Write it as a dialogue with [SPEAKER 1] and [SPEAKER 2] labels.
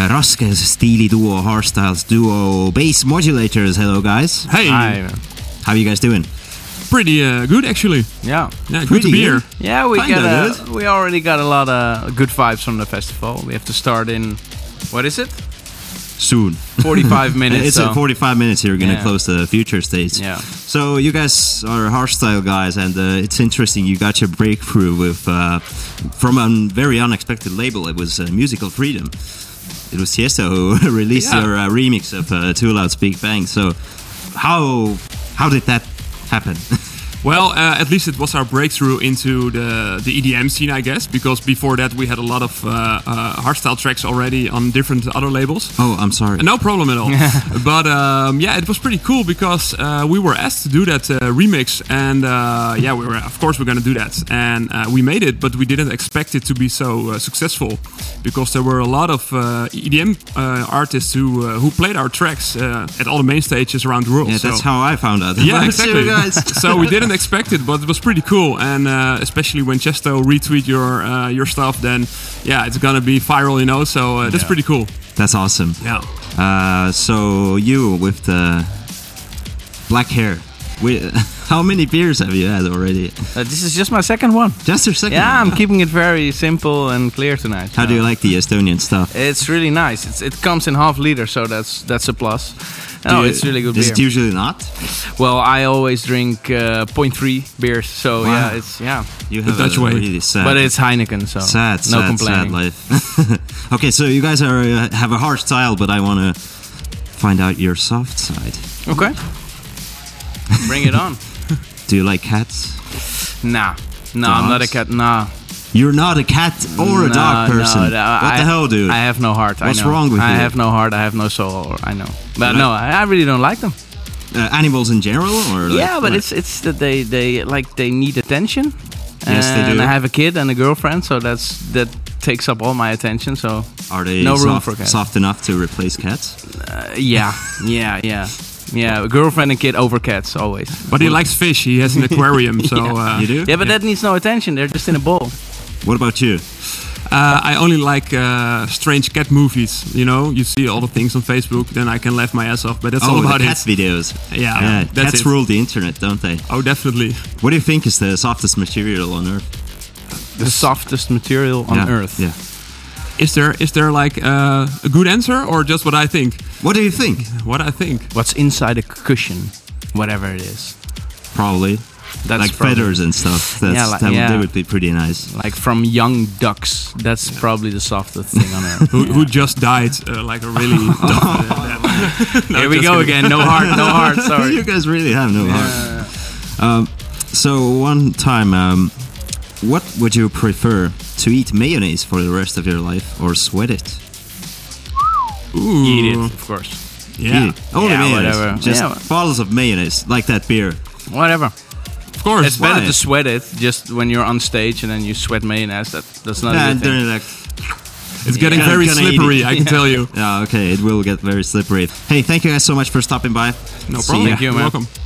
[SPEAKER 1] Raske Steely Duo, Hardstyles Duo, Bass Modulators. Hello, guys.
[SPEAKER 2] Hey,
[SPEAKER 3] Hi.
[SPEAKER 1] How you guys doing?
[SPEAKER 2] pretty uh, good actually.
[SPEAKER 3] Yeah.
[SPEAKER 2] Yeah, good
[SPEAKER 1] Pretty
[SPEAKER 2] to be here.
[SPEAKER 1] good.
[SPEAKER 3] Yeah, we
[SPEAKER 1] Kinda
[SPEAKER 3] got a, we already got a lot of good vibes from the festival. We have to start in what is it?
[SPEAKER 1] Soon.
[SPEAKER 3] 45
[SPEAKER 1] And
[SPEAKER 3] minutes.
[SPEAKER 1] it's
[SPEAKER 3] so.
[SPEAKER 1] in 45 minutes here. We're gonna
[SPEAKER 3] Yeah.
[SPEAKER 1] close the future stage.
[SPEAKER 3] Yeah.
[SPEAKER 1] So you guys are hardstyle guys, and uh, it's interesting. You got your breakthrough with uh, from a very unexpected label. It was uh, Musical Freedom. It was Tiesto who released
[SPEAKER 3] Yeah.
[SPEAKER 1] your uh, remix of uh, Too Loud's Big Bang. So how how did that happen?
[SPEAKER 2] Well, uh, at least it was our breakthrough into the the EDM scene, I guess, because before that we had a lot of uh, uh, hardstyle tracks already on different other labels.
[SPEAKER 1] oh, I'm sorry.
[SPEAKER 2] Uh, No problem at all. but um, yeah, it was pretty cool because uh, we were asked to do that uh, remix, and uh, yeah, we were of course we're gonna do that, and uh, we made it, but we didn't expect it to be so uh, successful because there were a lot of uh, EDM uh, artists who uh, who played our tracks uh, at all the main stages around the world.
[SPEAKER 1] Yeah,
[SPEAKER 2] so-
[SPEAKER 1] that's how I found out.
[SPEAKER 2] yeah,
[SPEAKER 1] Like,
[SPEAKER 2] exactly.
[SPEAKER 1] "See you guys."
[SPEAKER 2] so we didn't expect it, but it was pretty cool, and uh, especially when Chesto retweet your uh, your stuff, then yeah, it's gonna be viral, you know. So uh, that's pretty cool.
[SPEAKER 1] That's awesome.
[SPEAKER 2] Yeah.
[SPEAKER 1] Uh, so you with the black hair. We, how many beers have you had already?
[SPEAKER 3] Uh, this is just my second one.
[SPEAKER 1] Just your second.
[SPEAKER 3] Yeah, I'm
[SPEAKER 1] one.
[SPEAKER 3] keeping it very simple and clear tonight.
[SPEAKER 1] How do you like the Estonian stuff?
[SPEAKER 3] It's really nice. It's, it comes in half liter, so that's that's a plus. No,
[SPEAKER 1] Do you-
[SPEAKER 3] Oh, it's really good
[SPEAKER 1] Is
[SPEAKER 3] beer.
[SPEAKER 1] it usually not?
[SPEAKER 3] well, I always drink uh, 0.3 beers, so
[SPEAKER 1] Wow.
[SPEAKER 3] yeah, it's yeah.
[SPEAKER 1] You have
[SPEAKER 2] Dutch
[SPEAKER 1] a
[SPEAKER 2] way.
[SPEAKER 1] really sad,
[SPEAKER 3] but it's Heineken, so
[SPEAKER 1] sad, sad,
[SPEAKER 3] no
[SPEAKER 1] sad
[SPEAKER 3] complaining.
[SPEAKER 1] life. okay, so you guys are uh, have a hard style, but I want to find out your soft side.
[SPEAKER 3] okay, bring it on.
[SPEAKER 1] Do you like cats?
[SPEAKER 3] Nah, no, I'm not a
[SPEAKER 1] Dogs?
[SPEAKER 3] cat. Nah,
[SPEAKER 1] You're not a cat or a
[SPEAKER 3] No,
[SPEAKER 1] dog
[SPEAKER 3] no,
[SPEAKER 1] person.
[SPEAKER 3] no,
[SPEAKER 1] what
[SPEAKER 3] I-
[SPEAKER 1] the hell, dude?
[SPEAKER 3] I have no heart. I
[SPEAKER 1] What's
[SPEAKER 3] know.
[SPEAKER 1] wrong with
[SPEAKER 3] I
[SPEAKER 1] you?
[SPEAKER 3] have no heart. I have no soul. I know, but
[SPEAKER 1] Yeah.
[SPEAKER 3] no, I I really don't like them.
[SPEAKER 1] uh, animals in general, or like,
[SPEAKER 3] yeah, but
[SPEAKER 1] what?
[SPEAKER 3] it's it's that they they like they need attention.
[SPEAKER 1] Yes, they
[SPEAKER 3] and
[SPEAKER 1] do.
[SPEAKER 3] I have a kid and a girlfriend, so that's that takes up all my attention. So
[SPEAKER 1] Are they
[SPEAKER 3] No room
[SPEAKER 1] soft,
[SPEAKER 3] for cats.
[SPEAKER 1] soft enough to replace cats?
[SPEAKER 3] uh, yeah, yeah, yeah, yeah. a Girlfriend and kid over cats always.
[SPEAKER 2] But he likes fish. He has an aquarium, so uh,
[SPEAKER 1] You do?
[SPEAKER 3] Yeah, but that needs no attention. They're just in a bowl.
[SPEAKER 1] What about you?
[SPEAKER 2] Uh, I only like uh, strange cat movies. You know, you see all the things on Facebook, then I can laugh my ass off. But that's all
[SPEAKER 1] oh,
[SPEAKER 2] about
[SPEAKER 1] the
[SPEAKER 2] it.
[SPEAKER 1] cats videos.
[SPEAKER 2] Yeah,
[SPEAKER 1] yeah
[SPEAKER 2] that's
[SPEAKER 1] cats
[SPEAKER 2] it.
[SPEAKER 1] rule the internet, don't they?
[SPEAKER 2] Oh, definitely.
[SPEAKER 1] What do you think is the softest material on earth?
[SPEAKER 3] The softest material on
[SPEAKER 1] yeah,
[SPEAKER 3] earth.
[SPEAKER 1] Yeah.
[SPEAKER 2] Is there is there like uh, a good answer or just what I think?
[SPEAKER 1] What do you think?
[SPEAKER 2] What I think?
[SPEAKER 3] What's inside a cushion, whatever it is.
[SPEAKER 1] Probably.
[SPEAKER 3] That's
[SPEAKER 1] like
[SPEAKER 3] probably-
[SPEAKER 1] feathers and stuff. That's,
[SPEAKER 3] like-
[SPEAKER 1] that, would-
[SPEAKER 3] yeah.
[SPEAKER 1] They would be pretty nice.
[SPEAKER 3] Like from young ducks. That's probably the softest thing on earth.
[SPEAKER 2] Who, who just died? Uh, like a really. dumb, uh, No,
[SPEAKER 3] Here we
[SPEAKER 2] just
[SPEAKER 3] go
[SPEAKER 2] kidding.
[SPEAKER 3] again. No heart. No heart. Sorry.
[SPEAKER 1] you guys really have no heart. Um, so one time, um, what would you prefer to eat mayonnaise for the rest of your life or sweat it?
[SPEAKER 2] Ooh,
[SPEAKER 3] Eat it, of course.
[SPEAKER 2] Yeah,
[SPEAKER 1] Oh. Eat. Only
[SPEAKER 3] Yeah,
[SPEAKER 1] mayonnaise.
[SPEAKER 3] whatever.
[SPEAKER 1] Just
[SPEAKER 3] Yeah.
[SPEAKER 1] bottles of mayonnaise, like that beer.
[SPEAKER 3] Whatever.
[SPEAKER 2] of course.
[SPEAKER 3] It's better
[SPEAKER 1] Why?
[SPEAKER 3] to sweat it just when you're on stage and then you sweat mayonnaise. That that's not
[SPEAKER 1] Yeah,
[SPEAKER 3] a good thing.
[SPEAKER 1] they're like,
[SPEAKER 2] It's getting
[SPEAKER 1] Yeah.
[SPEAKER 2] very
[SPEAKER 1] Gonna eat it.
[SPEAKER 2] slippery. I can tell you.
[SPEAKER 1] yeah, okay, it will get very slippery. Hey, thank you guys so much for stopping by.
[SPEAKER 2] No
[SPEAKER 1] See
[SPEAKER 2] problem.
[SPEAKER 1] ya.
[SPEAKER 3] Thank you, man.
[SPEAKER 2] Welcome.